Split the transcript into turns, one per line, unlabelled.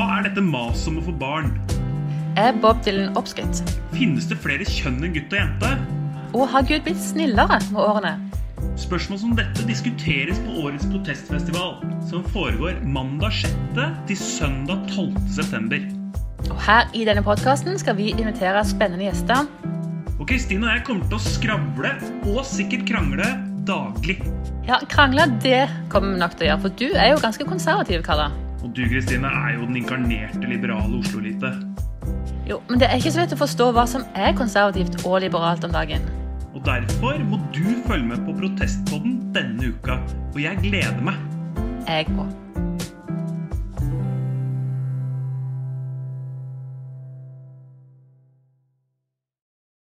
er dette maset om å få barn?
Er Bob Dylan oppskrytt?
Finnes det flere kjønn enn gutt og jente?
Og har Gud blitt snillere med årene?
Spørsmål som dette diskuteres på årets protestfestival, som foregår mandag 6. til søndag 12. september.
Og her i denne podkasten skal vi invitere spennende gjester.
Og Kristine og jeg kommer til å skravle, og sikkert krangle, daglig.
Ja, krangler, det kommer vi nok til å gjøre, for du er jo ganske konservativ, Kalle.
Og du, Kristine, er jo den inkarnerte liberale Oslo-elite.
Jo, men det er ikke så lett å forstå hva som er konservativt og liberalt om dagen.
Og derfor må du følge med på Protestpodden denne uka. Og jeg gleder meg.
Jeg òg.